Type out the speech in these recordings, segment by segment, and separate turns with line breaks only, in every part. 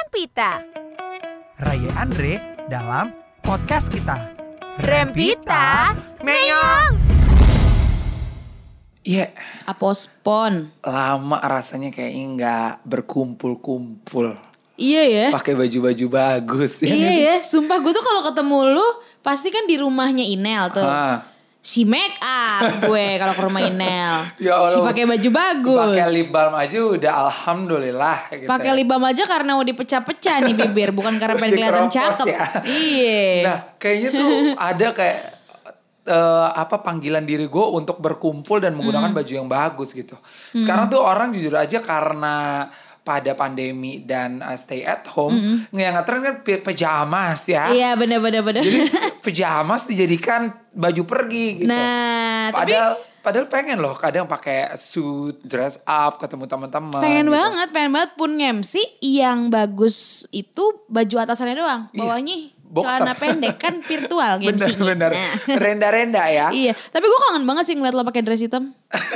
Rempita.
Raya Andre dalam podcast kita.
Rempita Meyong.
Iya,
Apospon.
lama rasanya kayaknya nggak berkumpul-kumpul.
Iya ya.
Pakai baju-baju bagus.
Iya
ya nggak sih?
ya, sumpah gue tuh kalau ketemu lu pasti kan di rumahnya Inel tuh.
Ah.
Si make up gue kalau ke rumah Inel.
Ya Allah.
Si pakai baju bagus.
Pakai lip balm aja udah alhamdulillah. Gitu
Pakai
ya.
lip balm aja karena udah pecah-pecah nih bibir, bukan karena pengen
Udah
kelihatan
keropos
cakep.
ya.
Iya.
Nah, kayaknya tuh ada kayak eh, apa panggilan diri gue untuk berkumpul dan menggunakan baju yang bagus gitu. Sekarang tuh orang jujur aja karena pada pandemi dan eh, stay at home, yang ngetren kan pe- pajamas ya.
Iya, bener-bener bener.
Jadi pajamas dijadikan baju pergi gitu.
Nah, tapi
padahal padahal pengen loh kadang pakai suit, dress up, ketemu teman-teman.
pengen
gitu.
banget, pengen banget pun MC yang bagus itu baju atasannya doang.
Iya.
Bawahnya
Boxer.
celana pendek kan virtual MC.
Bener-bener renda-renda ya.
Nah, Iya, tapi gue kangen banget sih ngeliat lo pakai dress hitam.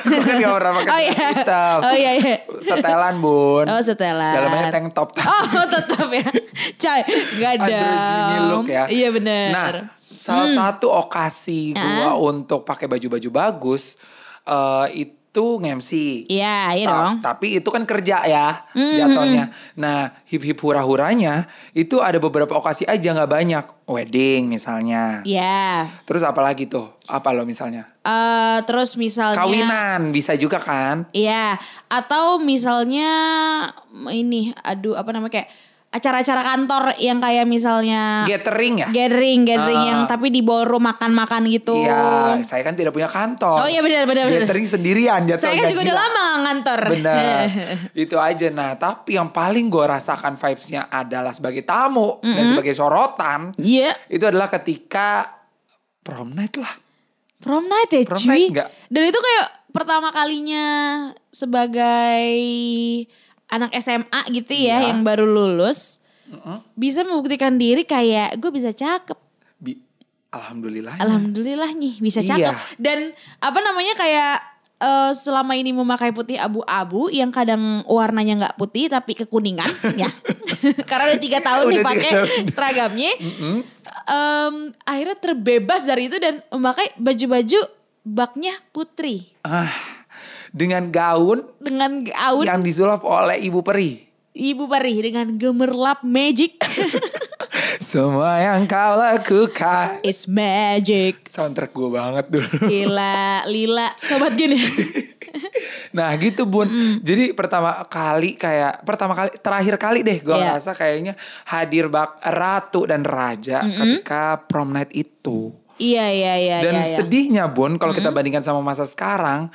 Gue kan gak pernah pakai
Oh, iya.
celana hitam.
Oh, iya, iya.
Setelan bun.
Oh, setelan.
Dalamnya tank top.
Oh tetap ya, coy, nggak ada.
Androgyny look ya.
Iya bener. Hmm.
Nah, salah satu okasi gua untuk pakai baju-baju bagus eh, itu nge-MC.
Iya, iya
Ta-
dong.
Tapi itu kan kerja ya jatuhnya. Nah hip hip hura huranya itu ada beberapa okasi aja nggak banyak. Wedding misalnya.
Iya.
Terus apalagi tuh? Apa lo misalnya?
Eh, terus misalnya.
Kawinan bisa juga kan?
Iya, atau misalnya ini, aduh apa namanya kayak acara-acara kantor yang kayak misalnya
Gathering ya?
Ah. gathering, gathering
Ah.
yang tapi di ballroom makan-makan gitu.
Iya, saya kan tidak punya
Oh,
kantor.
iya, benar, benar, benar.
Gathering sendirian jatuhnya.
Saya kan juga udah
gila.
lama nggak ngantor.
Benar. itu aja. Nah, tapi yang paling gue rasakan vibes-nya adalah sebagai tamu dan sebagai sorotan.
Iya.
Itu adalah ketika prom night lah.
Prom night ya
Prom
cuy.
night nggak?
Dan itu kayak pertama kalinya sebagai anak SMA gitu ya
Iya.
yang baru lulus. Bisa membuktikan diri kayak gue bisa cakep.
Bi- Alhamdulillah.
Alhamdulillah nih bisa cakep.
Iya.
Dan apa namanya kayak eh, selama ini memakai putih abu-abu yang kadang warnanya nggak putih tapi kekuningan ya. Karena udah tiga tahun
Udah
nih
tiga
pakai
tahun.
seragamnya. Em, akhirnya terbebas dari itu dan memakai baju-baju baknya putri
Ah, dengan gaun
dengan gaun
yang disulap oleh Ibu Peri.
ibu peri dengan gemerlap magic.
Semua yang kau lakukan.
It's magic.
Soundtrack gue banget dulu.
Gila, lila, sobat ya? gini.
Nah gitu bun Jadi pertama kali kayak Pertama kali Terakhir kali deh Gue
Iya.
ngerasa kayaknya Hadir bak ratu dan raja Ketika prom night itu
iya, iya, iya, iya,
Dan
iya.
sedihnya bun Kalau kita bandingkan sama masa sekarang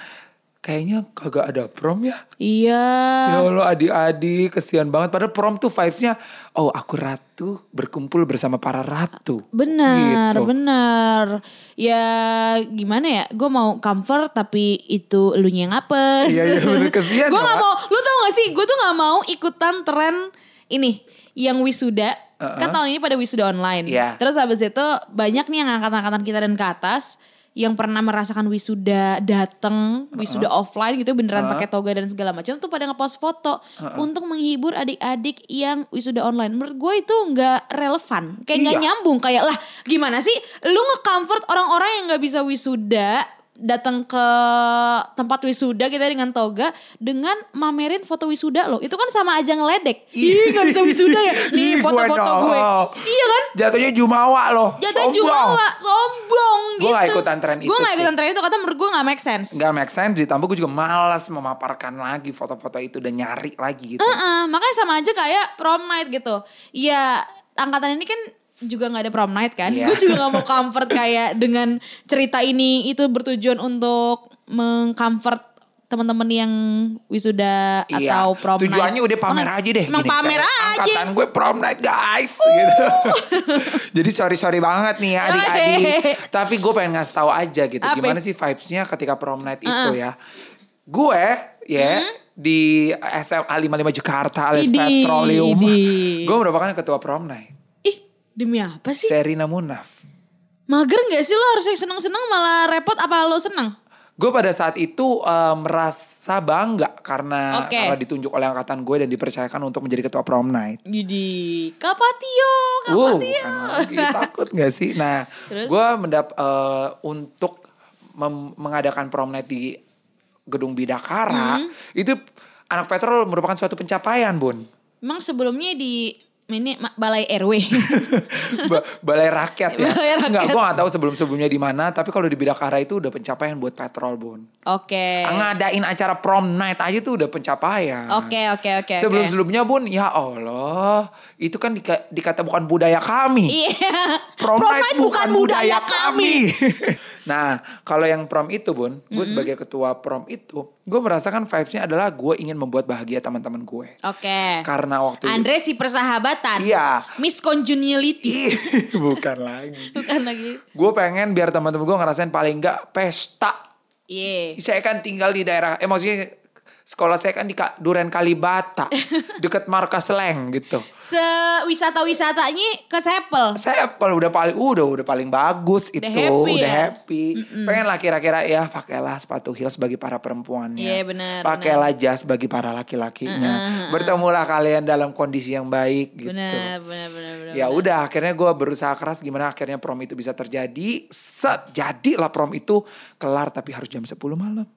Kayaknya kagak ada prom ya
Iya.
Ya Allah adik-adik Kesian banget Padahal prom tuh vibesnya Oh aku ratu Berkumpul bersama para ratu
Benar,
Gitu.
benar. Ya gimana ya? Gue mau comfort tapi itu lu yang apes.
Iya, iya, bener. Kesian
Gue nggak mau.
dong,
Lu tau gak sih? Gue tuh nggak mau ikutan tren ini yang wisuda. Kan tahun ini pada wisuda online.
Iya.
Terus habis itu banyak nih yang angkatan-angkatan kita dan ke atas yang pernah merasakan wisuda dateng, wisuda offline gitu beneran pakai toga dan segala macam tuh pada ngepost foto untuk menghibur adik-adik yang wisuda online. Menurut gue itu nggak relevan, kayak nggak
Iya.
nyambung kayak lah gimana sih lu nge-comfort orang-orang yang nggak bisa wisuda datang ke tempat wisuda kita dengan toga dengan mamerin foto wisuda lo itu kan sama aja ngeledek ih nggak bisa wisuda ya
Ih,
nih
gue
foto-foto gue
nol.
iya kan
Jatuhnya jumawa loh
Jatuh
Sombong.
jumawa, sombong gitu.
Gua nggak ikutan tren itu
Gue gak
sih.
ikutan tren itu, kata menurut gue gak make sense.
nggak make sense ditambah gue juga malas memaparkan lagi foto-foto itu dan nyari lagi gitu
Heeh, makanya sama aja kayak prom night gitu. Ya angkatan ini kan juga nggak ada prom night kan.
Iya.
Gue juga gak mau comfort kayak dengan cerita ini itu bertujuan untuk mengcomfort teman-teman yang wisuda
Iya,
atau prom
tujuannya
night.
udah pamer
Emang-
aja deh.
Emang
gini,
pamer
kayak,
aja. Oh.
Angkatan gue prom night guys. Gitu. Jadi sorry sorry banget nih ya adik-adik. Tapi gue pengen ngasih tahu aja gitu.
Apa?
Gimana sih vibesnya ketika prom night itu ya? Gue ya di SMA 55 Jakarta alias
Hmm? Idi,
Petroleum.
idi.
Gue merupakan ketua prom night.
Ih, demi apa sih?
Serina Munaf.
Mager gak sih lo harusnya seneng-seneng malah repot apa lo seneng?
Gue pada saat itu eh, merasa bangga karena
Oke.
karena ditunjuk oleh angkatan gue dan dipercayakan untuk menjadi ketua prom night.
Jadi Kapatio,
Wow,
Kapatio.
Uh, bukan lagi takut gak sih? Nah,
Terus?
gue mendap eh, untuk mem- mengadakan prom night di gedung Bidakara
Hmm.
itu anak petrol merupakan suatu pencapaian, Bun.
Emang sebelumnya di ini ma- balai RW.
Ba- balai rakyat ya.
Balai rakyat.
Enggak, gue gak tahu sebelum-sebelumnya di mana, tapi kalau di Bidakara itu udah pencapaian buat petrol, Bun.
Oke.
Ngadain acara prom night aja tuh udah pencapaian.
Oke, oke, oke, oke.
Sebelum-sebelumnya, Bun, ya Allah, itu kan dika- dikata bukan budaya kami.
Iya.
prom,
Prom
night
night bukan budaya
nah, kalau yang prom itu bun, gue sebagai ketua prom itu, gue merasakan vibesnya adalah gue ingin membuat bahagia teman-teman gue.
Oke.
Karena waktu itu-
Andre si persahabatan.
Iya.
Miss congeniality.
Ih, bukan lagi.
Bukan lagi.
Gue pengen biar teman-teman gue ngerasain paling nggak pesta.
Iya.
Saya kan tinggal di daerah, eh maksudnya sekolah saya kan di Ka- Duren Kalibata, deket markas Leng gitu.
Sewisata-wisatanya ke Sepel.
saya kalau udah paling udah udah paling bagus itu
happy
udah
ya?
happy pengen lah kira-kira ya pakailah sepatu heels bagi para perempuannya
Iya, benar,
pakailah jas bagi para laki-lakinya bertemulah kalian dalam kondisi yang baik gitu
Benar, benar, benar, benar.
ya udah akhirnya gue berusaha keras gimana akhirnya prom itu bisa terjadi set jadilah prom itu kelar tapi harus jam 10 malam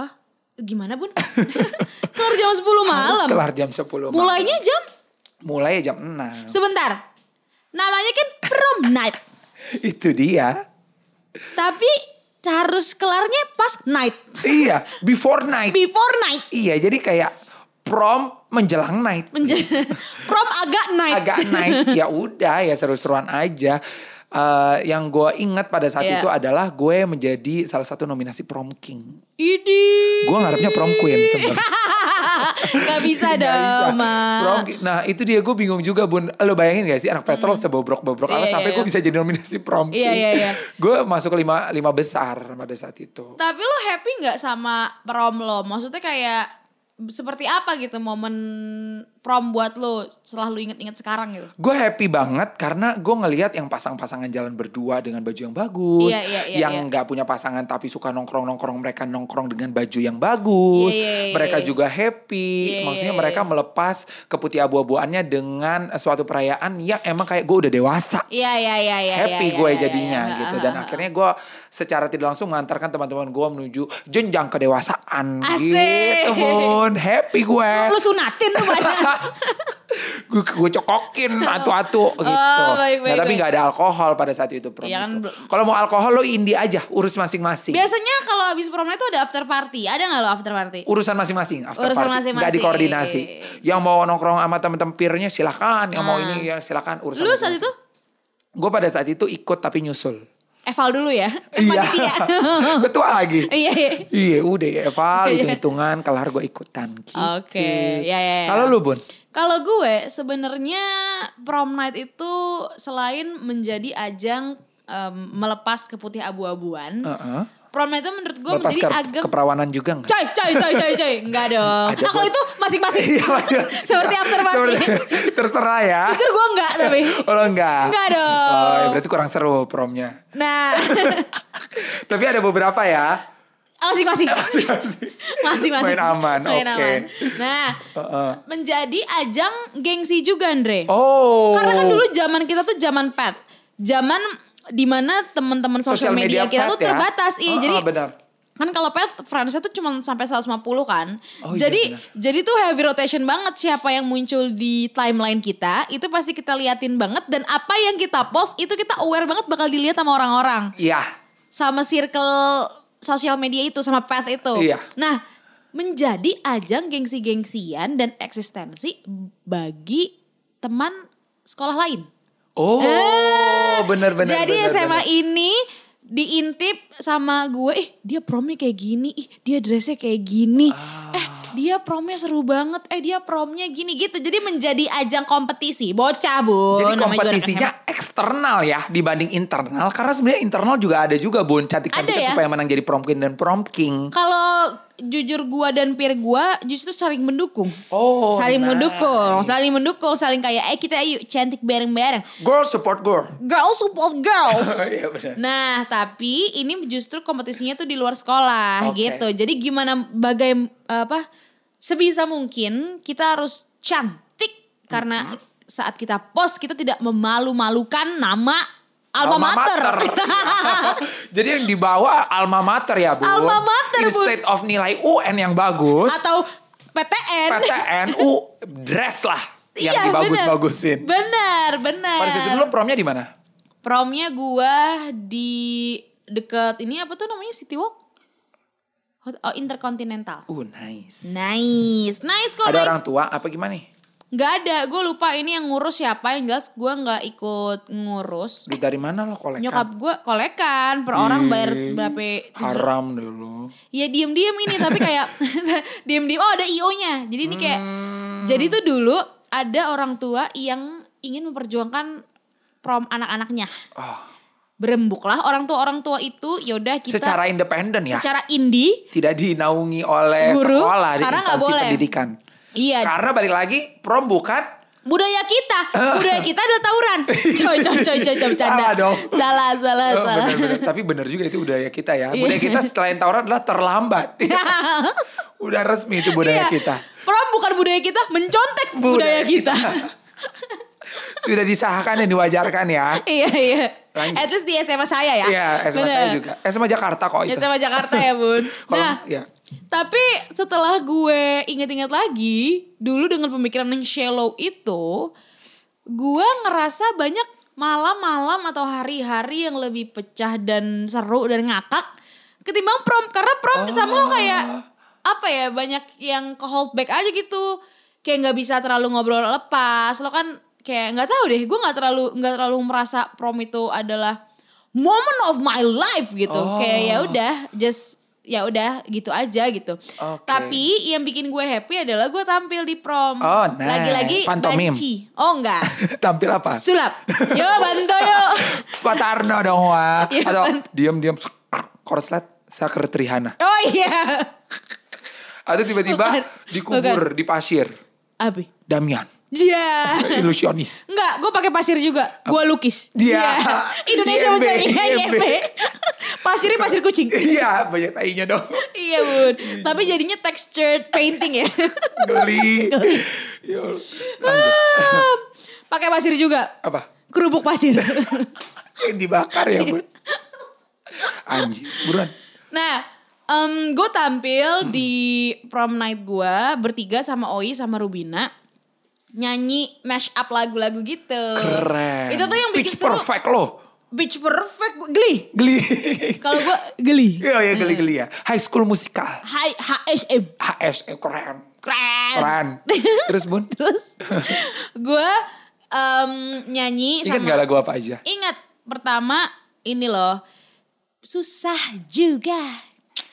Ah, gimana bun? Kelar jam 10 malam.
harus kelar jam 10 malam
Mulainya jam
mulai jam 6
sebentar. Namanya kan prom night.
itu dia
Tapi harus kelarnya pas night.
iya before night
Before night.
iya jadi kayak prom menjelang night
Menje- prom agak night.
agak naik ya udah ya seru-seruan aja Eh, yang gue ingat pada saat
Iya.
itu adalah gue menjadi salah satu nominasi prom king
Idi.
gue ngarepnya prom queen sebenarnya
Gak bisa
Nggak bisa.
dong,
Prom
Oh, Ma.
King. nah itu dia gue bingung juga bun lo bayangin gak sih anak petrol sebobrok-bobrok apa
Iya,
sampai
iya,
gue
iya.
bisa jadi nominasi prom king
Iya, iya, iya.
gue masuk ke lima lima besar pada saat itu
Tapi lo happy nggak sama prom lo? Maksudnya kayak seperti apa gitu momen prom buat lo setelah lo inget-inget sekarang gitu?
Gue happy banget karena gue ngelihat yang pasang-pasangan jalan berdua dengan baju yang bagus,
Iya, iya, iya,
yang
iya.
nggak punya pasangan tapi suka nongkrong-nongkrong mereka nongkrong dengan baju yang
Iya,
bagus,
iya, iya,
mereka
iya.
juga happy,
Iya,
maksudnya
iya,
mereka melepas keputih abu-abuannya dengan suatu perayaan yang emang kayak gue udah dewasa.
Iya iya iya iya.
Happy
iya,
gue
iya, iya,
jadinya
iya.
gitu dan akhirnya gue secara tidak langsung mengantarkan teman-teman gue menuju jenjang kedewasaan
Asik.
gitu Bun. happy gue
Lu sunatin lu banyak.
gue gue cokokin atu-atu gitu.
Oh, baik,
nah,
baik,
tapi
baik.
nggak ada alkohol pada saat itu prom
Iya kan,
itu.
bel-
Kalau mau alkohol lo indi aja, urus masing-masing.
Biasanya kalau habis promnya tuh ada after party. Ada nggak lo after party?
urusan masing-masing after
Urusan
party nggak
masing-masing.
dikoordinasi yang mau nongkrong sama temen-temen pirnya silahkan yang mau
Ah.
ini ya silahkan urusan
Lu saat itu
gue pada saat itu ikut tapi nyusul Iya.
eval dulu ya. Panitia.
ketua lagi
Iya iya.
iya udah ya Val
Iya.
hitung hitungan kelar gue ikutan gitu.
Oke, ya, ya, ya.
kalau lu bun
Kalau gue sebenarnya prom night itu selain menjadi ajang em, melepas keputih abu-abuan,
Heeh.
prom night itu menurut gue
melepas
menjadi
ke-
agak
keperawanan juga nggak
Coy, coy, coy, coy, coy. Enggak dong.
Ada
Nah, kalau
buat-
itu masing-masing.
Iya, masing-masing.
Seperti after party.
Seperti- terserah ya
Jujur gue enggak tapi.
Oh lo enggak?
Enggak dong.
Oh ya berarti kurang seru promnya.
Nah,
Tapi ada beberapa ya.
Oh, masing-masing.
Masih-masih.
Masing-masing.
Main aman,
Main
oke.
aman. Nah, menjadi ajang gengsi juga, Andre.
Oh.
Karena kan dulu zaman kita tuh zaman path. Zaman dimana teman-teman sosial media, kita
pet
tuh
ya.
terbatas. Iya,
Oh,
jadi
oh, benar.
kan kalau pet friends-nya tuh cuma sampai 150 kan.
Oh, iya,
jadi
benar.
jadi tuh heavy rotation banget siapa yang muncul di timeline kita, itu pasti kita liatin banget dan apa yang kita post itu kita aware banget bakal dilihat sama orang-orang
Iya.
sama circle sosial media itu sama path itu.
Iya.
Nah, menjadi ajang gengsi-gengsian dan eksistensi bagi teman sekolah lain.
Oh,
Eh,
benar-benar.
Jadi
benar,
SMA
benar.
ini diintip sama gue, eh dia promnya kayak gini, ih dia dressnya kayak gini,
Ah.
eh dia promnya seru banget, eh dia promnya gini gitu. Jadi menjadi ajang kompetisi, bocah bu.
Jadi kompetisinya eksternal ya dibanding internal karena sebenarnya internal juga ada juga bun cantik cantik
Ada ya?
supaya menang jadi prom queen dan prom king.
Kalau jujur gua dan peer gua justru saling mendukung.
Oh,
saling
nice.
mendukung, saling mendukung, saling kayak eh kita yuk cantik bareng-bareng.
Girl support girl.
Girls support girls.
Iya benar.
Nah, tapi ini justru kompetisinya tuh di luar sekolah
Oke.
gitu. Jadi gimana bagai apa sebisa mungkin kita harus cantik karena saat kita post kita tidak memalu-malukan nama alma mater.
Iya. Jadi yang dibawa alma mater ya, Bu.
Alma mater, Bun.
Instead of nilai UN yang bagus,
Atau PTN.
PTN U dress lah yang
Iya,
dibagus-bagusin.
Benar, benar.
Pada situ dulu promnya di mana?
Promnya gua di deket ini apa tuh namanya City Walk? Hot- Oh, Intercontinental.
Uh, nice.
Nice, nice kok.
Ada
nice.
orang tua apa gimana nih?
Nggak ada, gue lupa ini yang ngurus siapa yang jelas gue nggak ikut ngurus.
Duit dari mana lo kolekan?
Nyokap gue kolekan per orang bayar
Ih,
berapa?
Haram dulu.
Ya diem-diem ini tapi kayak diem-diem. Oh ada IO-nya. Jadi ini kayak
Hmm.
jadi tuh dulu ada orang tua yang ingin memperjuangkan prom anak-anaknya.
Oh,
Berembuklah orang tua orang tua itu yaudah kita
secara independen ya.
secara indie
Tidak dinaungi oleh
Guru,
sekolah di
karena nggak
instansi
boleh.
pendidikan.
Iya.
Karena balik lagi prom bukan
budaya kita budaya kita adalah tawuran coy coy coy coy coy bercanda
Salah dong.
salah salah
Oh,
salah
benar-benar. Tapi benar juga itu budaya kita ya.
Iya.
Budaya kita selain tawuran adalah terlambat. Udah resmi itu
Iya.
budaya kita.
Prom bukan budaya kita, mencontek budaya,
Budaya
kita.
Sudah disahkan dan diwajarkan ya.
iya, iya.
Lanjut.
At least di SMA saya ya.
Iya, SMA saya
Bener.
juga. SMA Jakarta kok itu.
SMA Jakarta ya, Bun.
Kalau
nah,
ya.
tapi setelah gue inget-inget lagi, dulu dengan pemikiran yang shallow itu, gue ngerasa banyak malam-malam atau hari-hari yang lebih pecah dan seru dan ngakak ketimbang prom karena prom sama kayak apa ya banyak yang ke hold back aja gitu kayak nggak bisa terlalu ngobrol lepas lo kan kayak nggak tahu deh gue nggak terlalu nggak terlalu merasa prom itu adalah moment of my life gitu kayak
Oh.
ya udah just ya udah gitu aja gitu
Oke.
tapi yang bikin gue happy adalah gue tampil di prom
Oh, nice.
lagi-lagi
Pantomim.
banci oh enggak
Tampil apa?
sulap yo bantu yo
Pak Tarno dong wah.
Iya,
Atau
kan.
diam-diam korslet Sakretri Hana.
oh iya
Atau tiba-tiba
Bukan.
dikubur di pasir.
abi
Damian,
Iya.
ilusionis.
Enggak, gue pakai pasir juga. Gue lukis.
Iya.
Iya. Indonesia
IMB,
mencari IMB.
IMB.
Pasirnya pasir kucing.
Iya, banyak tainya dong.
iya bun. Tapi jadinya textured painting ya.
Geli. Ya Allah. Lanjut.
Hmm. pakai pasir juga.
Apa?
Kerupuk pasir.
Yang dibakar ya, Bun. Anjir, buruan.
nah, gue
Hmm.
tampil di prom night gue bertiga sama Oi sama Rubina nyanyi mash up lagu-lagu gitu.
Keren.
Itu tuh yang bikin
Pitch
seru.
perfect loh.
Beach perfect. Geli.
Geli.
Kalau gue geli.
Iya, ya geli-geli ya. High school musikal.
Hai HSM.
HS, eh, keren.
Keren.
Keren. Terus, Bun.
Terus gue em, nyanyi
Ingat
sama
gak lagu apa aja?
ingat pertama ini loh susah juga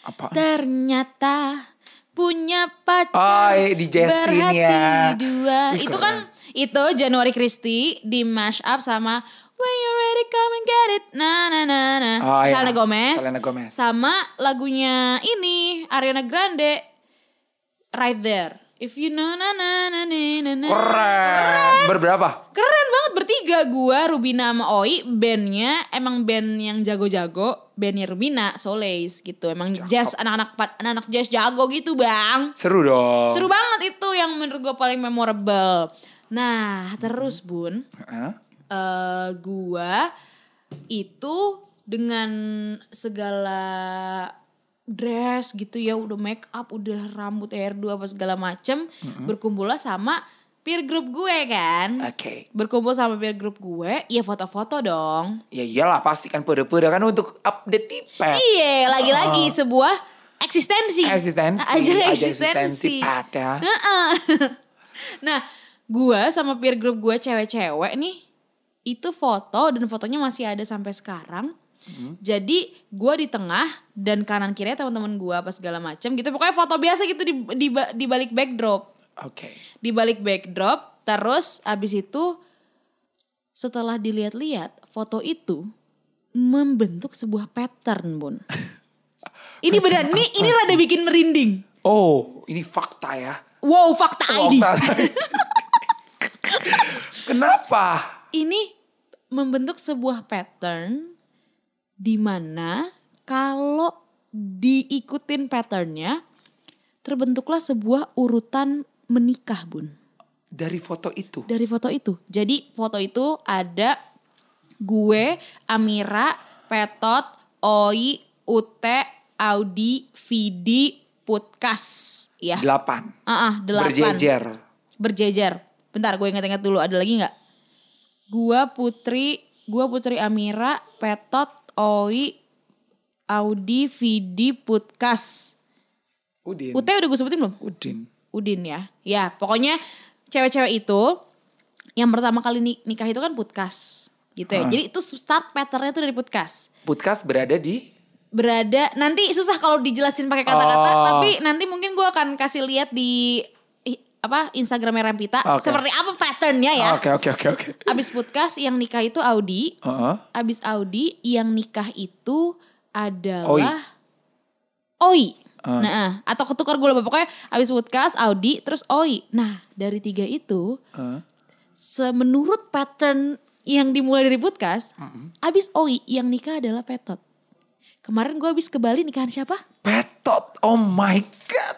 Apa?
ternyata punya
Oh,
pacar
iya, di Jessin
berhati
ya.
dua
Ih,
itu
keren.
kan itu Januari Christie di mash up sama When you ready come and get it na na na na
Oh, iya.
Selena Gomez
Selena Gomez.
sama lagunya ini Ariana Grande Right There If you know na na na na na na
Keren. Berberapa?
Keren banget bertiga gua Rubina sama Oi bandnya emang band yang jago-jago bandnya Rubina Soleis gitu emang jazz anak-anak pa- anak-anak jazz jago gitu bang
Seru dong.
seru banget itu yang menurut gua paling memorable nah terus bun
Heeh.
eh gua itu dengan segala dress gitu ya udah make up udah rambut hairdo apa segala macem berkumpullah sama peer group gue kan
Oke.
berkumpul sama peer group gue, ya foto-foto dong.
Ya iyalah pasti kan pura-pura kan untuk update E tipe.
Iya, lagi-lagi sebuah eksistensi.
Eksistensi,
Aja
ajang eksistensi,
eksistensi.
Pat, ya.
Heeh. nah, gue sama peer group gue cewek-cewek nih, itu foto dan fotonya masih ada sampai sekarang. Hmm. Jadi gue di tengah dan kanan kiri teman-teman gue apa segala macam gitu. Pokoknya foto biasa gitu di, di, ba- di balik backdrop.
Oke.
di balik backdrop terus abis itu Setelah dilihat-lihat, foto itu membentuk sebuah pattern, Bun. ini benar, ini ini rada bikin merinding.
Oh, ini fakta ya.
Wow, fakta ID.
Fakta. Kenapa?
ini membentuk sebuah pattern di mana kalau diikutin patternnya terbentuklah sebuah urutan menikah bun
Dari foto itu.
dari foto itu jadi foto itu ada gue Amira Petot Oi Ute Audi Vidi Putkas ya
Delapan.
Ah, ah, delapan
Berjejer.
berjejer. Bentar, gue ingat-ingat dulu ada lagi nggak? Gua Putri, gua Putri Amira, Petot, Oi, Audi, Vidi, Putkas.
Udin.
Ute udah gue sebutin belum?
Udin.
Udin ya. Ya, pokoknya cewek-cewek itu yang pertama kali ni- nikah itu kan Putkas. Gitu ya.
Ah.
Jadi itu start patternnya itu dari Putkas.
Putkas berada di
Berada nanti susah kalau dijelasin pakai kata-kata,
Oh.
tapi nanti mungkin gue akan kasih lihat di i- apa Instagramnya Rempita
Oke.
seperti apa patternnya ya.
Ah, Oke oke oke oke.
Abis podcast yang nikah itu Audi.
Heeh.
Abis Audi yang nikah itu
Oi.
adalah Oi. Nah, atau ketukar gue lupa pokoknya abis podcast Audi terus Oi. Nah, dari tiga itu
Heeh.
se- menurut pattern yang dimulai dari podcast, abis Oi yang nikah adalah Petot. Kemarin gue abis ke Bali nikahan siapa?
Petot. Oh my god.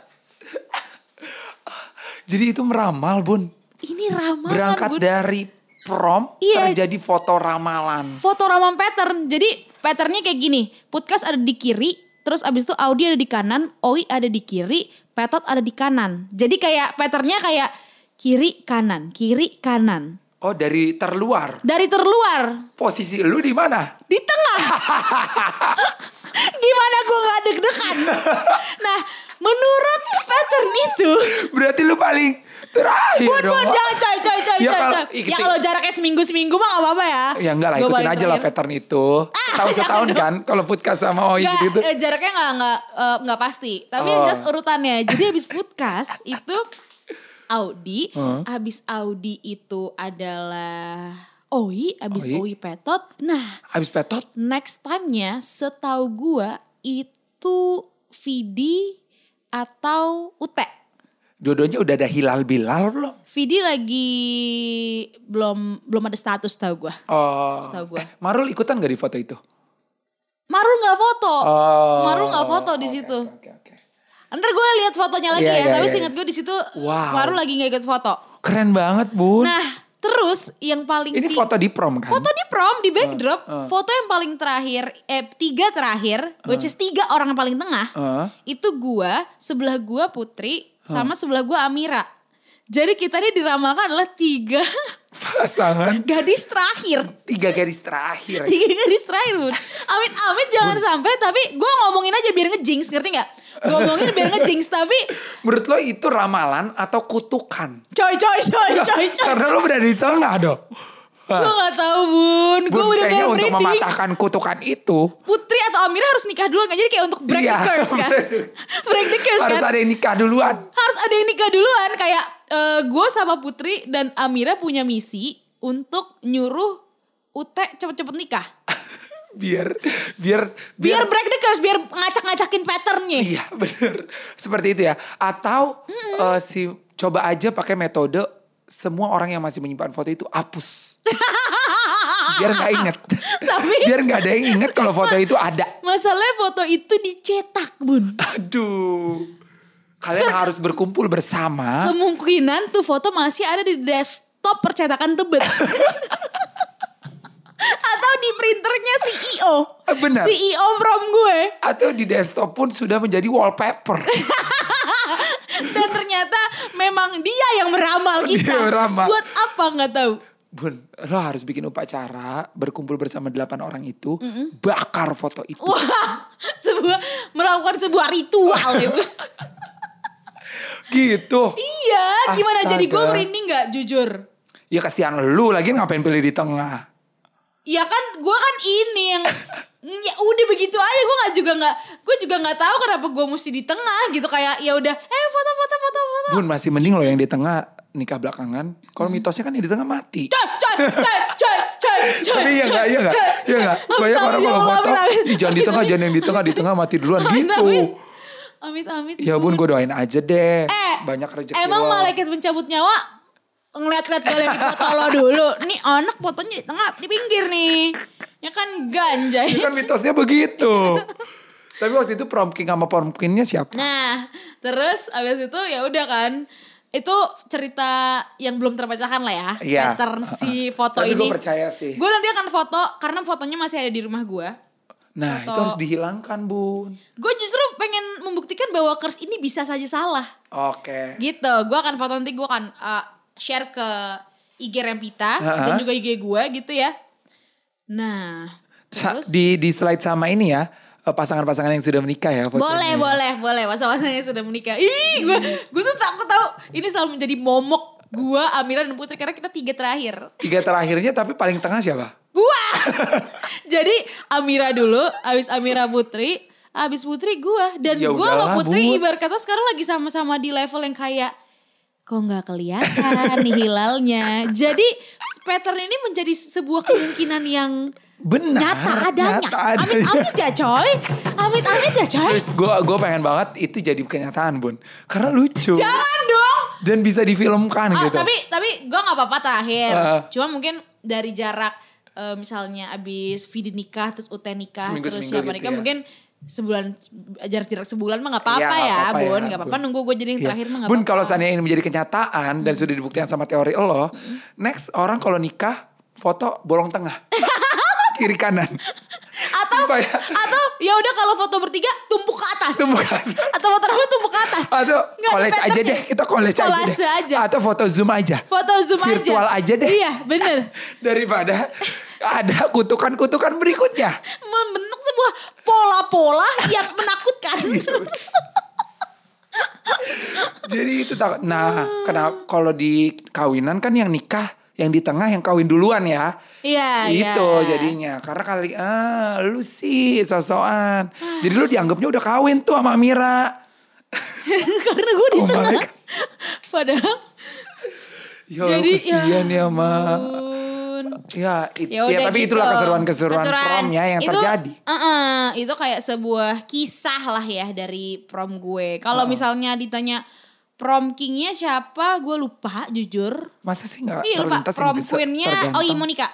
Jadi itu meramal, Bun.
Ini ramalan
Berangkat
Bun.
dari prom
Iya.
terjadi foto ramalan.
foto raman pattern. Jadi patternnya kayak gini. Putkas ada di kiri, terus abis itu Audi ada di kanan, Oi ada di kiri, Petot ada di kanan. Jadi kayak patternnya kayak kiri kanan, kiri kanan.
Oh, dari terluar.
Dari terluar
Posisi lu di mana?
di tengah. Gimana gue gak deg-degan? Nah, menurut pattern itu,
Berarti lu paling terakhir
buat
Iya dong.
buat jangan coy coy coy
Ya
coy.
kalau-
coy.
ikutin.
Ya kalau jaraknya seminggu seminggu mah gak apa-apa ya.
Ya enggak lah,
Gua
ikutin
paling
aja lah
terakhir.
pattern
Ah,
itu. Setahun setahun kan kalau Putkas sama Oi
Nggak,
gitu.
eh, jaraknya nggak nggak eh, nggak pasti. Tapi yang
Oh.
jelas urutannya. Jadi habis putkas itu Audi, habis Audi itu adalah Oi, habis
Oi.
Oi, Petot. Nah,
Habis Petot
next time-nya setahu gua itu Vidi atau Ute.
dua-duanya udah ada hilal bilal belum?
Vidi lagi belum belum ada status tahu gua.
Oh.
Setahu gua.
Eh, Marul ikutan gak di foto itu?
Marul nggak foto.
Oh.
Marul nggak foto di
Oke,
situ.
oke, oke, oke.
Ntar gue lihat fotonya lagi
Iya,
ya,
iya,
tapi
iya,
seingat
iya.
gue di situ
Wow.
Maru lagi nggak ikut foto.
Keren banget, Bun.
Nah, terus yang paling
Ini Uh,
ti-
foto di prom kan?
foto di prom di backdrop, foto yang paling terakhir eh tiga terakhir,
Uh.
which is tiga orang yang paling tengah.
Eh.
Itu gua, sebelah gua Putri,
Uh.
sama sebelah gua Amira. Jadi kita ini diramalkan adalah tiga
Pasangan
gadis terakhir.
tiga garis terakhir.
Tiga gadis terakhir bun Amit amit jangan sampai Tapi gue ngomongin aja biar ngejinx Ngerti gak? Gue ngomongin biar ngejinx Tapi
Menurut lo itu ramalan atau kutukan?
coy coy coy coy coy
Karena lo berada di tengah dong.
Gue gak tahu bun, gue
Bun,
udah
kayaknya
bener
untuk
merinding.
mematahkan kutukan itu
Putri atau Amira harus nikah duluan kan? Jadi kayak untuk break
Iya.
the curse kan? break the curse
harus
kan?
ada yang nikah duluan.
Harus ada yang nikah duluan. Kayak gue sama Putri dan Amira punya misi untuk nyuruh Ute cepet-cepet nikah.
Biar biar
Biar, break the curse, biar ngacak-ngacakin patternnya.
Iya bener Seperti itu ya Atau eh, si Coba aja pakai metode Semua orang yang masih menyimpan foto itu Hapus Biar gak inget
Tapi-
Biar gak ada yang inget Kalau foto itu ada
Masalahnya foto itu dicetak bun.
Aduh Kalian harus berkumpul bersama
Kemungkinan tuh foto masih ada di desktop percetakan tebet. Atau di printernya E CEO.
Eh, benar.
CEO from E gue.
Atau di desktop pun Sudah menjadi wallpaper
Dan ternyata memang dia yang meramal kita.
Dia meramal.
Buat apa nggak tahu.
Bun Lo harus bikin upacara Berkumpul bersama delapan orang itu Bakar foto itu
Wah, sebuah melakukan sebuah ritual ya, Bun.
Gitu
Iya, gimana jadi gue
Astaga.
merinding nggak jujur?
Ya kasihan lu lagi ngapain pilih di tengah
Ya kan gue kan ini yang ya udah begitu aja gue nggak juga nggak gue juga nggak tahu kenapa gue mesti di tengah gitu kayak ya udah eh foto foto foto foto
Bun Hmm. masih mending loh yang di tengah nikah belakangan. Kalau mitosnya kan yang di tengah mati.
coy coy coy coy
Tapi iya enggak, iya enggak. Iya enggak.
Amit,
Banyak
amit,
orang kalau
amit,
foto,
amit, amit.
"Ih, jangan di tengah, jangan yang di tengah, di tengah mati duluan gitu.
Amit amit.
Ya bun, gue doain aja deh.
Eh,
Banyak rezeki
Emang
lo.
malaikat pencabut nyawa ngeliat-liat balik foto lo dulu. Nih anak fotonya di tengah, di pinggir nih. Ya kan
Itu
ganjay.
kan mitosnya begitu. Tapi waktu itu prom king sama prom queennya siapa?
Nah, terus abis itu ya udah kan. Itu cerita yang belum terpecahkan lah ya.
Iya.
Pattern si foto
Tapi
ini.
gue percaya sih.
Gue nanti akan foto karena fotonya masih ada di rumah gue.
Nah, itu
Foto-
harus dihilangkan, Bun.
Gue justru pengen membuktikan bahwa curse ini bisa saja salah.
Oke.
Gitu, gue akan foto nanti gue akan uh, share ke IG Rempita
Ha-ha.
dan juga IG gue gitu ya. Nah,
Sa-
terus
Di di slide sama ini ya, eh, pasangan-pasangan yang sudah menikah ya fotonya.
boleh, boleh, boleh. Masa-masanya sudah menikah. Ih, gue gue tuh takut tahu ini selalu menjadi momok gue, Amira dan Putri karena kita tiga terakhir.
Tiga terakhirnya tapi paling tengah siapa?
Gua. Jadi Amira dulu, abis Amira Putri, abis Putri gua dan
Ya
gua sama
udahlah,
Putri
Bud.
ibarat kata sekarang lagi sama-sama di level yang kayak kok nggak kelihatan nih hilalnya. Jadi pattern ini menjadi sebuah kemungkinan yang
Benar.
nyata adanya.
nyata
Amit
adanya.
amit ya coy. Amit amit ya coy.
Gue gue pengen banget itu jadi kenyataan bun, karena lucu
Jangan dong.
dan bisa difilmkan
Ah,
gitu.
tapi tapi gue nggak apa-apa terakhir.
Ah.
Cuma mungkin dari jarak eh, misalnya abis Vidi nikah terus Ute nikah
Seminggu-
terus
seminggu
siapa
gitu
nikah
ya.
mungkin sebulan jarak jarak sebulan mah nggak apa-apa
Iya,
ya,
nggak apa-apa
Bun.
ya,
Nggak apa-apa
Bun.
nunggu gue jadi yang
Iya.
terakhir mah nggak
Bun
apa-apa. Mm.
kalau seandainya ini menjadi kenyataan dan sudah dibuktikan sama teori lo, next orang kalau nikah foto bolong tengah, kiri kanan.
atau
supaya-
atau ya udah kalau foto bertiga tumpuk ke atas.
Tumpuk ke atas.
atau foto rambut tumpuk ke atas. Nggak
Atau
ada
college aja
patternnya.
deh, kita college aja deh.
Kolase aja.
Atau foto zoom aja.
Foto zoom aja.
Virtual aja deh.
Iya, bener.
Daripada ada kutukan-kutukan berikutnya.
Membentuk sebuah pola-pola yang menakutkan.
Iya. Gitu. Jadi itu tak. Nah, kenapa kalau di kawinan kan yang nikah yang di tengah yang kawin duluan ya.
Iya,
Itu
iya.
jadinya. Karena kali ah lu sih sosokan.
Ah.
Jadi lu dianggapnya udah kawin tuh sama Mira.
Karena gue di
Oh my
tengah.
God.
Padahal
Ya
Jadi,
Jadi, kesian ya, Ma.
ampun.
Ya, it-
Ya, udah
ya tapi
gitu.
itulah keseruan-keseruan
Keseruan.
promnya yang
Itu,
terjadi.
uh-uh, itu kayak sebuah kisah lah ya dari prom gue.
Uh-uh.
Kalau misalnya ditanya prom kingnya siapa, gue lupa jujur.
Masa sih gak
Iya lupa,
terlintas yang
prom
gese-
queennya
terganteng?
Oi Monica.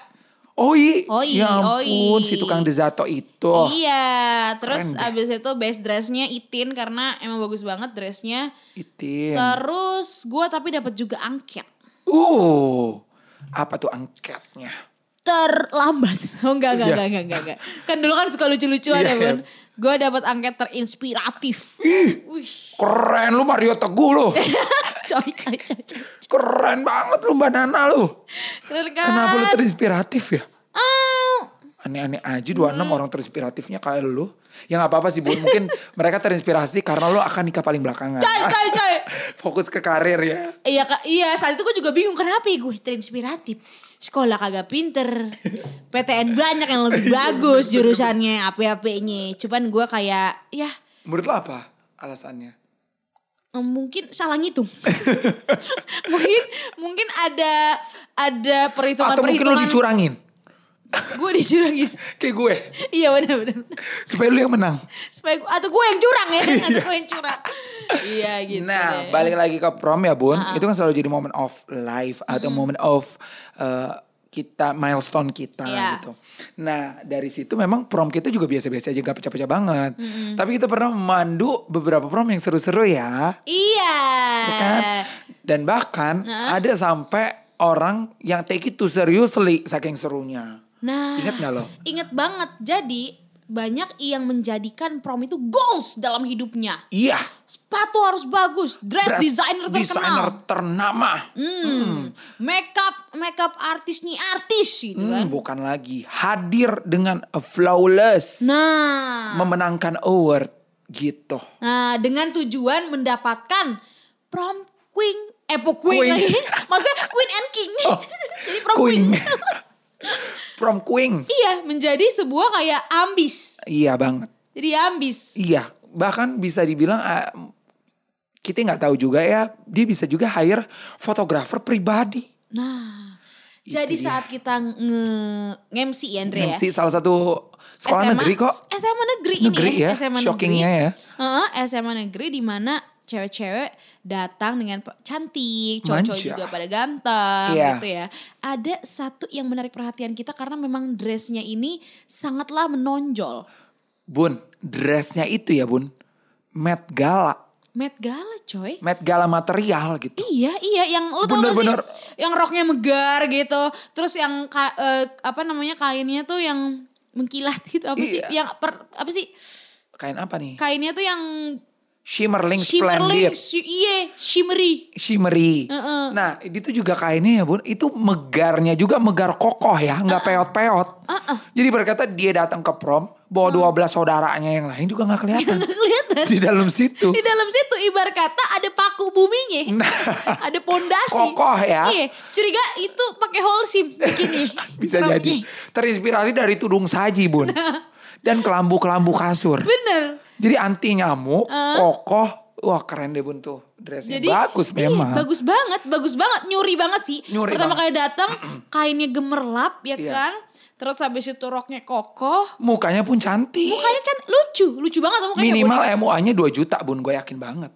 Oi.
Oi,
ya ampun,
Oi.
si tukang desato itu.
Iya, terus
Keren deh.
abis itu best dressnya Itin karena emang bagus banget dressnya.
Itin.
Terus gue tapi dapat juga angket.
Uh, apa tuh angketnya?
terlambat. Oh enggak enggak
Iya.
enggak enggak enggak. enggak. Kan dulu kan suka lucu-lucuan ya,
Iya.
Bun. Gue dapat angket terinspiratif.
Ih,
Wih,
keren lu Mario Teguh lu.
coy coy coy. coy.
Keren banget lu Mbak Nana lu.
Keren kan?
Kenapa lu terinspiratif ya?
Au.
Aneh-aneh aja 26 orang terinspiratifnya kayak lu. Ya gak apa-apa sih Bun. Mungkin mereka terinspirasi karena lu akan nikah paling belakangan.
Coy coy coy.
Fokus ke karir ya.
Iya Kak, iya saat itu gue juga bingung kenapa ya gue terinspiratif. Sekolah kagak pinter. PTN banyak yang lebih
Iya,
bagus jurusannya apa-apanya. Cuman gue kayak ya
Menurut lo apa alasannya?
Eh, mungkin salah ngitung mungkin mungkin ada ada perhitungan
Atau mungkin lu
perhitungan
dicurangin?
gue dicurangin
Kayak gue.
iya benar benar
Supaya lu yang menang.
supaya gua- atau gue yang curang ya atau gue yang curang iya gitu
Nah,
deh.
balik lagi ke prom ya, Bun. Itu kan selalu jadi moment of life atau moment of uh, kita milestone kita
Iya.
gitu. Nah, dari situ memang prom kita juga biasa-biasa aja gak pecah-pecah banget. Tapi kita pernah memandu beberapa prom yang seru-seru ya.
iya
ya kan?
Eh.
Dan bahkan ada sampai orang yang take it too seriously saking serunya.
nah
Ingat nggak lo?
ingat banget jadi banyak yang menjadikan prom itu goals dalam hidupnya
Iya.
sepatu harus bagus dress,
dress
designer terkenal
designer ternama.
Hmm. makeup makeup artis nih artis gitu kan
Hmm, bukan lagi hadir dengan a flawless.
nah
memenangkan award gitu.
Nah, dengan tujuan mendapatkan prom queen, eh po- queen,
Queen. Oh,
lagi. Maksudnya queen and king. Jadi prom queen.
Queen. Prom Queen.
Iya, menjadi sebuah kayak ambis.
Iya banget.
Jadi ambis.
Iya, bahkan bisa dibilang ah, kita nggak tahu juga ya, dia bisa juga hire fotografer pribadi.
Nah, Jadi
dia.
saat kita nge ngemsi ya Andre ya.
MC salah satu sekolah
SMA,
negeri kok.
SMA negeri,
Negeri
ini
ya,
SMA
shockingnya
negeri.
ya.
Heeh, SMA negeri di mana cewek-cewek datang dengan pe- cantik, cowok-cowok
Manja.
juga pada ganteng
Iya.
gitu ya. Ada satu yang menarik perhatian kita karena memang dressnya ini sangatlah menonjol.
Bun, dressnya itu ya bun. Met Gala.
Met Gala coy.
Met Gala material gitu.
Iya iya yang lu tau gak sih
Bener-bener.
yang roknya megar gitu terus yang ka- eh, apa namanya kainnya tuh yang mengkilat gitu apa sih
Iya.
yang per- apa sih
Kain apa nih?
kainnya tuh yang
Shimmerling
shimmerling
Splendid.
shi- iya shimmery
Shimmery.
Heeh.
Nah, itu juga kainnya ya bun. Itu megarnya juga megar kokoh ya. Nggak peot-peot. Jadi berkata dia datang ke prom. Bawa 12 saudaranya yang lain juga nggak kelihatan.
kelihatan
Di dalam situ.
Iya, di dalam situ ibar kata ada paku buminya
Nah.
ada pondasi
Kokoh ya.
iya curiga itu pakai holsim begini
Bisa jadi. Terinspirasi dari tudung saji bun.
Nah.
Dan kelambu-kelambu kasur.
bener
Jadi anti nyamuk, kokoh. Wah keren deh bun tuh. Dressnya bagus
iya,
memang.
bagus banget, bagus banget, nyuri banget sih.
Nyuri
Pertama
banget.
kali datang kainnya gemerlap ya
Iya.
kan. Terus habis itu roknya kokoh.
Mukanya pun cantik.
Mukanya cantik, lucu, lucu banget tuh mukanya.
Minimal
Unik.
MUA-nya 2 juta bun. Gue yakin banget.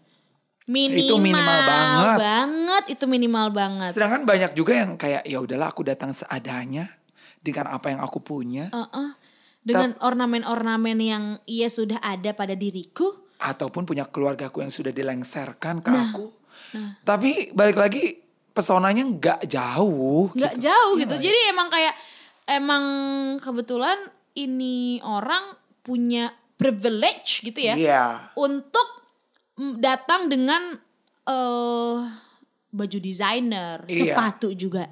minimal,
itu minimal banget.
banget, itu minimal banget.
Sedangkan banyak juga yang kayak ya udahlah aku datang seadanya. Dengan apa yang aku punya.
Heeh. Dengan ornamen-ornamen yang ia sudah ada pada diriku.
Ataupun punya keluargaku yang sudah dilengserkan ke
Nah,
aku. Tapi balik lagi pesonanya nggak jauh.
nggak
gitu.
jauh gitu. Jadi emang kayak emang kebetulan ini orang punya privilege gitu ya.
Iya.
Untuk mm, datang dengan eh baju desainer,
Iya.
sepatu juga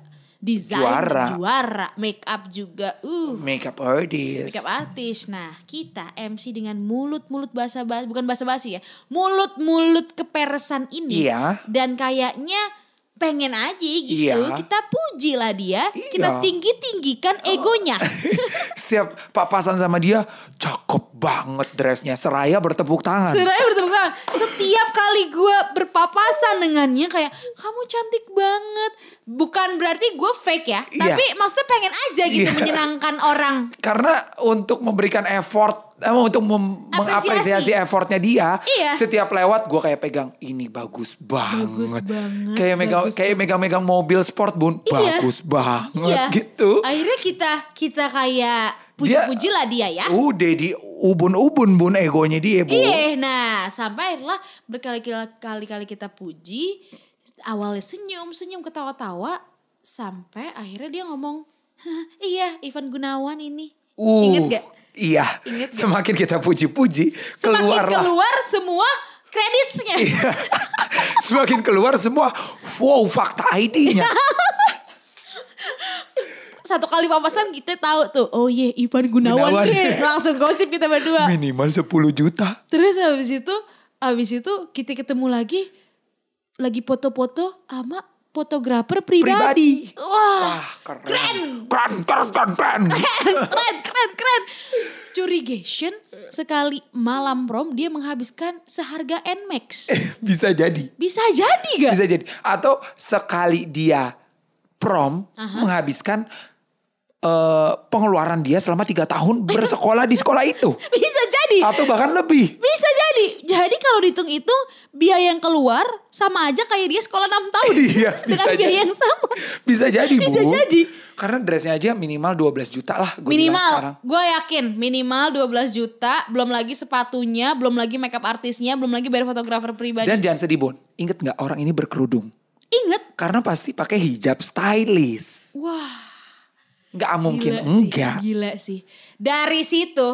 desainer
Juara.
juara, make up juga. Uh,
Makeup artist.
Makeup artis. Nah, kita MC dengan mulut-mulut bahasa basi bukan bahasa basi ya. Mulut-mulut keperesan ini.
Iya.
Dan kayaknya pengen aja gitu.
Iya.
Kita pujilah dia,
Iya.
kita tinggi-tinggikan egonya.
Setiap papasan sama dia, cakep banget dressnya. Seraya bertepuk tangan.
Sebenarnya bertepuk tangan. Setiap kali gue berpapasan dengannya kayak kamu cantik banget. Bukan berarti gue fake ya,
Iya.
tapi maksudnya pengen aja gitu
Iya.
menyenangkan orang.
Karena untuk memberikan effort, eh, untuk mem-
Apresiasi.
mengapresiasi effortnya dia,
Iya.
setiap lewat gue kayak pegang ini bagus banget,
Bagus banget,
kayak megang
bagus
kayak megang-megang mobil sport bun,
Iya.
bagus
Iya.
banget gitu.
Akhirnya kita kita kayak
Dia-
puji-pujilah dia ya.
Udah di Uh, ubun-ubun bun egonya dia bu.
Iya, nah sampai akhirnya berkali-kali kita puji, awalnya senyum-senyum ketawa-tawa, sampai akhirnya dia ngomong, "Hah, iya Ivan Gunawan ini.
Uh,
Ingat gak?
Iya.
Ingat gak?
Semakin kita puji-puji,
Semakin
keluarlah. Iya.
keluar semua kreditnya.
Semakin keluar semua, wow fakta ID-nya.
Satu kali papasan kita tahu tuh, oh iya Ivan Gunawan,
Gunawan.
nih. Langsung gosip kita berdua.
Minimal 10 juta.
Terus habis itu, habis itu kita ketemu lagi, lagi foto-foto sama fotografer pribadi.
Pribadi.
Wah,
Wah, keren.
Keren.
Keren, keren, keren, keren.
keren, keren, keren, keren. Curigation sekali malam prom dia menghabiskan seharga Nmax.
Eh, Bisa jadi.
Bisa jadi gak?
Bisa jadi. Atau sekali dia prom menghabiskan eh, pengeluaran dia selama tiga tahun bersekolah di sekolah itu.
Bisa jadi.
Atau bahkan lebih.
Bisa jadi. Jadi kalau dihitung-hitung biaya yang keluar sama aja kayak dia sekolah 6 tahun.
Iya,
Dengan
bisa
biaya
jadi.
yang sama.
Bisa jadi, Bu.
Bisa jadi.
Karena dressnya aja minimal 12 juta lah. Gua bilang sekarang.
minimal, gue yakin minimal 12 juta, belum lagi sepatunya, belum lagi makeup artisnya, belum lagi bayar fotografer pribadi.
Dan jangan sedih, Bon. Ingat nggak orang ini berkerudung?
Ingat,
Karena pasti pakai hijab stylish.
wah
Nggak mungkin
Gila sih,
enggak.
Gila sih. Dari situ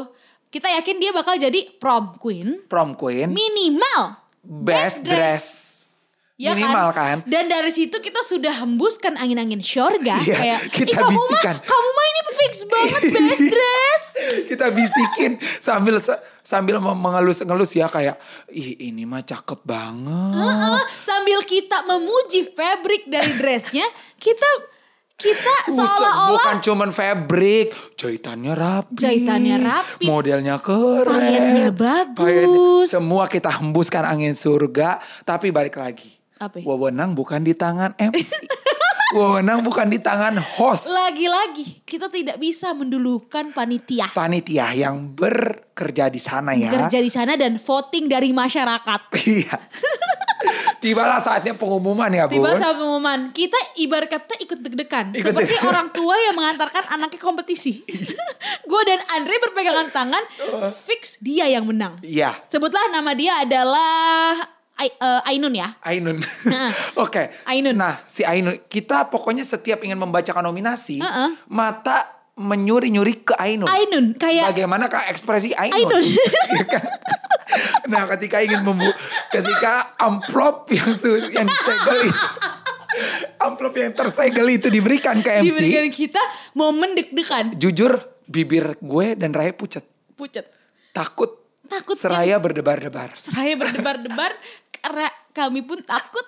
kita yakin dia bakal jadi prom queen
Prom queen,
minimal
best, dress.
Ya
Minimal kan?
Dan dari situ kita sudah hembuskan angin-angin syurga
Iya,
kayak "Ih,
kita
kamu
bisikan."
mah kamu mah ini fix banget best dress.
kita bisikin sambil se- sambil mem- mengelus-ngelus ya kayak ih ini mah cakep banget.
Heeh, sambil kita memuji fabric dari dressnya, kita kita
Buset, bukan
Ah, seolah-olah
cuman fabric, jahitannya rapi.
Jahitannya rapi.
Modelnya keren.
Payetnya bagus.
semua kita hembuskan angin surga, tapi balik lagi.
Apa ya?
Wewenang bukan di tangan MC. Wewenang bukan di tangan host.
Lagi-lagi kita tidak bisa mendulukan panitia.
Panitia yang bekerja di sana ya.
Kerja di sana dan voting dari masyarakat.
Iya. Tibalah saatnya pengumuman ya, Bun.
Tiba saat pengumuman, kita ibarat kata ikut deg-degan.
Ikut
Seperti
deg-degan. Iya.
orang tua yang mengantarkan anaknya kompetisi. Gue dan Andre berpegangan tangan,
Oh.
fix dia yang menang.
Iya.
Sebutlah nama dia adalah Ai- eh, Ainun ya.
Ainun.
Heeh.
Oke.
Ainun.
Nah, si Ainun, kita pokoknya setiap ingin membacakan nominasi,
Heeh.
mata menyuri-nyuri ke Ainun.
Ainun kayak
Bagaimana kak ekspresi Oh. Ainun?
Ainun.
Iya kan? nah, ketika ingin membu ketika amplop yang su- yang disegel itu, amplop yang tersegel itu diberikan ke MC,
diberikan kita momen deg-degan,
jujur bibir gue dan Raya pucat,
pucet.
takut.
Takut ya?
Seraya berdebar-debar.
Seraya berdebar-debar karena kami pun takut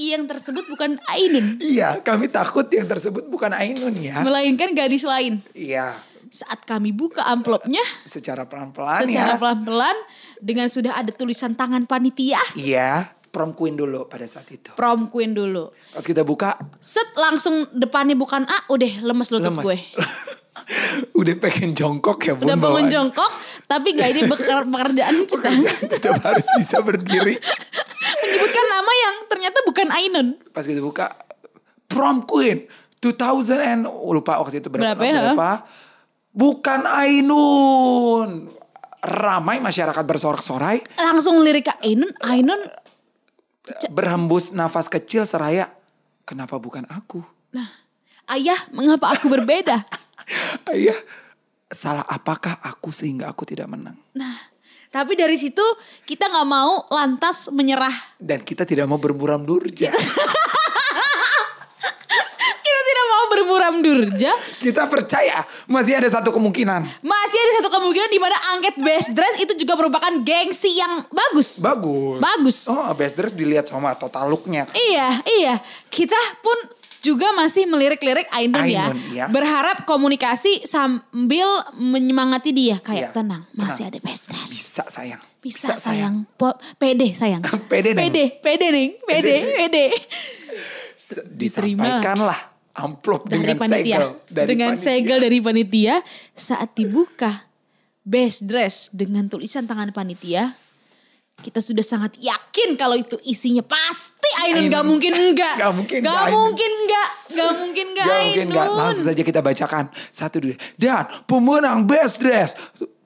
yang tersebut bukan Ainun,
Iya, kami takut yang tersebut bukan Ainun ya.
melainkan gadis lain.
Iya,
Saat kami buka amplopnya
secara pelan-pelan
secara
ya.
pelan-pelan dengan sudah ada tulisan tangan panitia
Iya, prom queen dulu pada saat itu.
prom queen dulu.
Pas kita buka,
Set langsung depannya bukan A, udah lemes lutut
lemes.
gue.
Udah pengen jongkok ya bun
Udah bangun
bawaan.
jongkok, tapi gak ini beker- pekerjaan kita.
Tetap harus bisa berdiri.
Menyebutkan nama yang ternyata bukan Ainun.
Pas kita buka, prom queen 2000 and oh, lupa waktu itu berapa.
Berapa ya?
Bukan Ainun. Ramai masyarakat bersorak-sorai,
Langsung lirik ke Ainun, Ainun.
berhembus nafas kecil seraya. Kenapa bukan aku?
Nah, ayah mengapa aku berbeda?
Ayah, salah apakah aku sehingga aku tidak menang?
Nah, tapi dari situ kita nggak mau lantas menyerah.
Dan kita tidak mau bermuram durja.
Kita tidak mau bermuram durja.
kita percaya masih ada satu kemungkinan.
Masih ada satu kemungkinan di mana angket best dress itu juga merupakan gengsi yang bagus.
Bagus.
Bagus.
Oh, best dress dilihat sama total looknya.
Iya, iya. Kita pun juga masih melirik-lirik Ainun ya.
Ainun, iya.
Berharap komunikasi sambil menyemangati dia kayak
Iya,
tenang, masih
tenang.
ada best dress.
Bisa sayang.
Bisa, sayang. Po- pede sayang.
Pede, Neng.
Pede, pede Neng. Pede, pede.
Se-
Diterima.
Disampaikanlah amplop
Dari
dengan
panitia.
segel. Dari
dengan
panitia.
segel dari panitia saat dibuka best dress dengan tulisan tangan panitia kita sudah sangat yakin kalau itu isinya pasti Ainun
Ainun.
gak mungkin enggak
Nggak mungkin
Nggak
nggak Ainun.
mungkin enggak Nggak mungkin enggak
Ya,
Ainun
mungkin nggak. Langsung saja kita bacakan satu dua. Dan pemenang best dress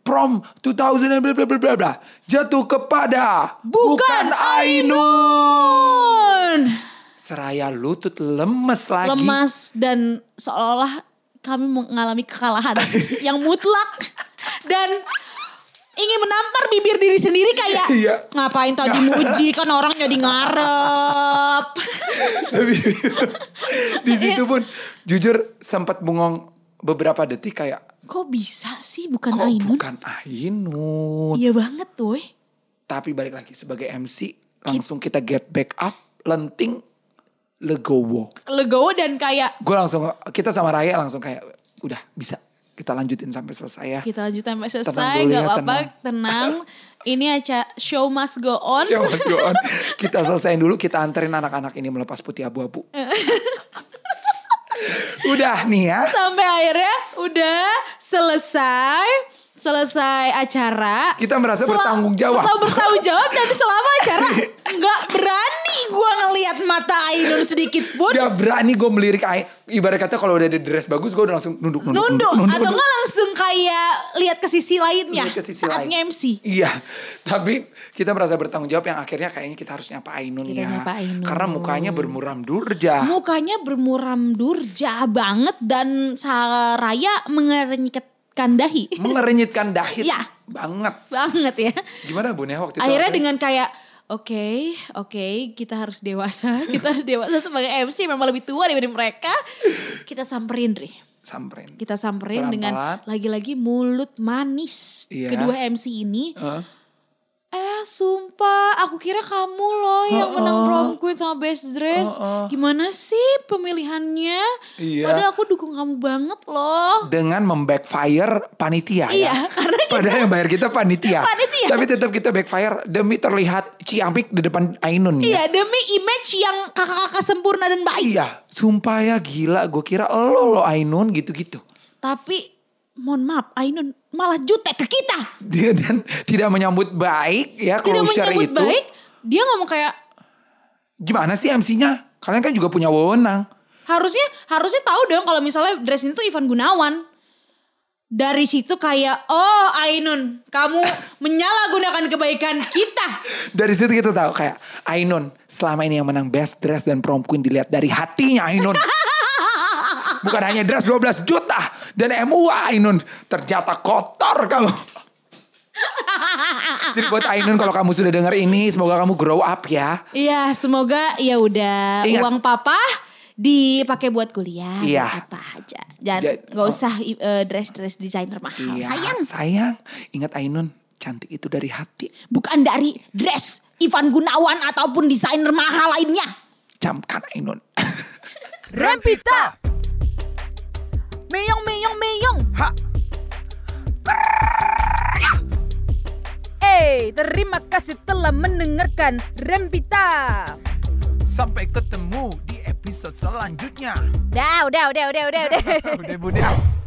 prom 2000 and bla bla bla bla bla jatuh kepada
Bukan
Ainun.
Ainun.
Seraya lutut lemes lagi.
lemas dan seolah-olah kami mengalami kekalahan yang mutlak dan ingin menampar bibir diri sendiri kayak
Iya.
ngapain tadi muji kan orang jadi ngarep
Tapi di situ pun jujur sempat bengong beberapa detik kayak
kok bisa sih bukan
kok
Ainun
bukan Ainun.
iya banget tuh
Tapi balik lagi sebagai MC langsung kita get back up, lenting, legowo.
legowo dan ya? kayak
Gue langsung kita sama Raya langsung kayak udah bisa kita lanjutin sampai selesai ya.
kita lanjut sampai selesai
dulu
gak
ya,
apa-apa tenang, ini aja show must go on
Ya, Mas Goon. Kita selesaiin dulu, kita anterin anak-anak ini melepas putih abu-abu. udah nih ya.
sampai akhirnya udah selesai selesai acara
Kita merasa bertanggung jawab.
Selalu bertanggung jawab dan selama acara nggak berani gua ngelihat mata Ainun sedikit pun
Gak berani gue melirik Ai- Ibarat kata kalau udah ada dress bagus gue udah langsung nunduk nunduk
nunduk atau nggak langsung kayak lihat ke sisi lainnya
Lihat ke sisi
saat
lain.
MC
Iya, tapi kita merasa bertanggung jawab yang akhirnya kayaknya kita harus nyapa Ainun
Kita
ya.
nyapa Ainun.
Karena mukanya bermuram durja.
mukanya bermuram durja banget dan Saraya mengernyitkan dahi
Hmm. mengerenyitkan dahi
Iya.
banget.
banget ya
Gimana Bun ya waktu itu?
akhirnya dengan kayak oke oke kita harus dewasa kita harus dewasa sebagai MC memang lebih tua daripada mereka kita samperin Ri
samperin.
kita samperin dengan
Pelan-pelan.
lagi-lagi mulut manis
Iya.
kedua MC ini
Heeh.
Eh sumpah, aku kira kamu loh yang menang prom queen sama best dress. Gimana sih pemilihannya?
Iya.
Padahal aku dukung kamu banget loh.
dengan membackfire panitia
Iya,
ya.
karena
Padahal yang bayar kita panitia.
Panitia.
Tapi tetap kita backfire demi terlihat ciamik di depan Ainun ya.
Iya demi image yang kakak-kakak sempurna dan baik.
Iya, sumpah ya gila. Gue kira lo lo Ainun gitu-gitu.
Tapi mohon maaf Ainun malah jutek ke kita.
Dia dan tidak menyambut baik ya
Tidak
closure
menyambut
itu.
baik. Dia ngomong kayak
Gimana sih MC-nya? Kalian kan juga punya wewenang.
harusnya harusnya tahu dong kalau misalnya dress ini tuh Ivan Gunawan. Dari situ kayak oh Ainun kamu menyalahgunakan kebaikan kita.
Dari situ kita tahu kayak Ainun selama ini yang menang best dress dan prom queen dilihat dari hatinya Ainun. Bukan hanya dress 12 juta dan MUA Ainun ternyata kotor kamu. Jadi buat Ainun kalau kamu sudah dengar ini semoga kamu grow up ya.
Iya, semoga ya udah
Ingat.
uang papa dipakai buat kuliah
Iya.
buat apa aja. Jangan
Ja- oh.
nggak usah dress dress desainer mahal.
Iya,
Sayang,
Sayang. Ingat Ainun cantik itu dari hati.
bukan dari dress Ivan Gunawan ataupun desainer mahal lainnya.
Camkan Ainun.
Rempita. Meyong meyong meyong.
Ha.
Eh, terima kasih telah mendengarkan Rempita.
Sampai ketemu di episode selanjutnya.
Dah, udah, udah, udah, udah, udah.
Udah, Bunda.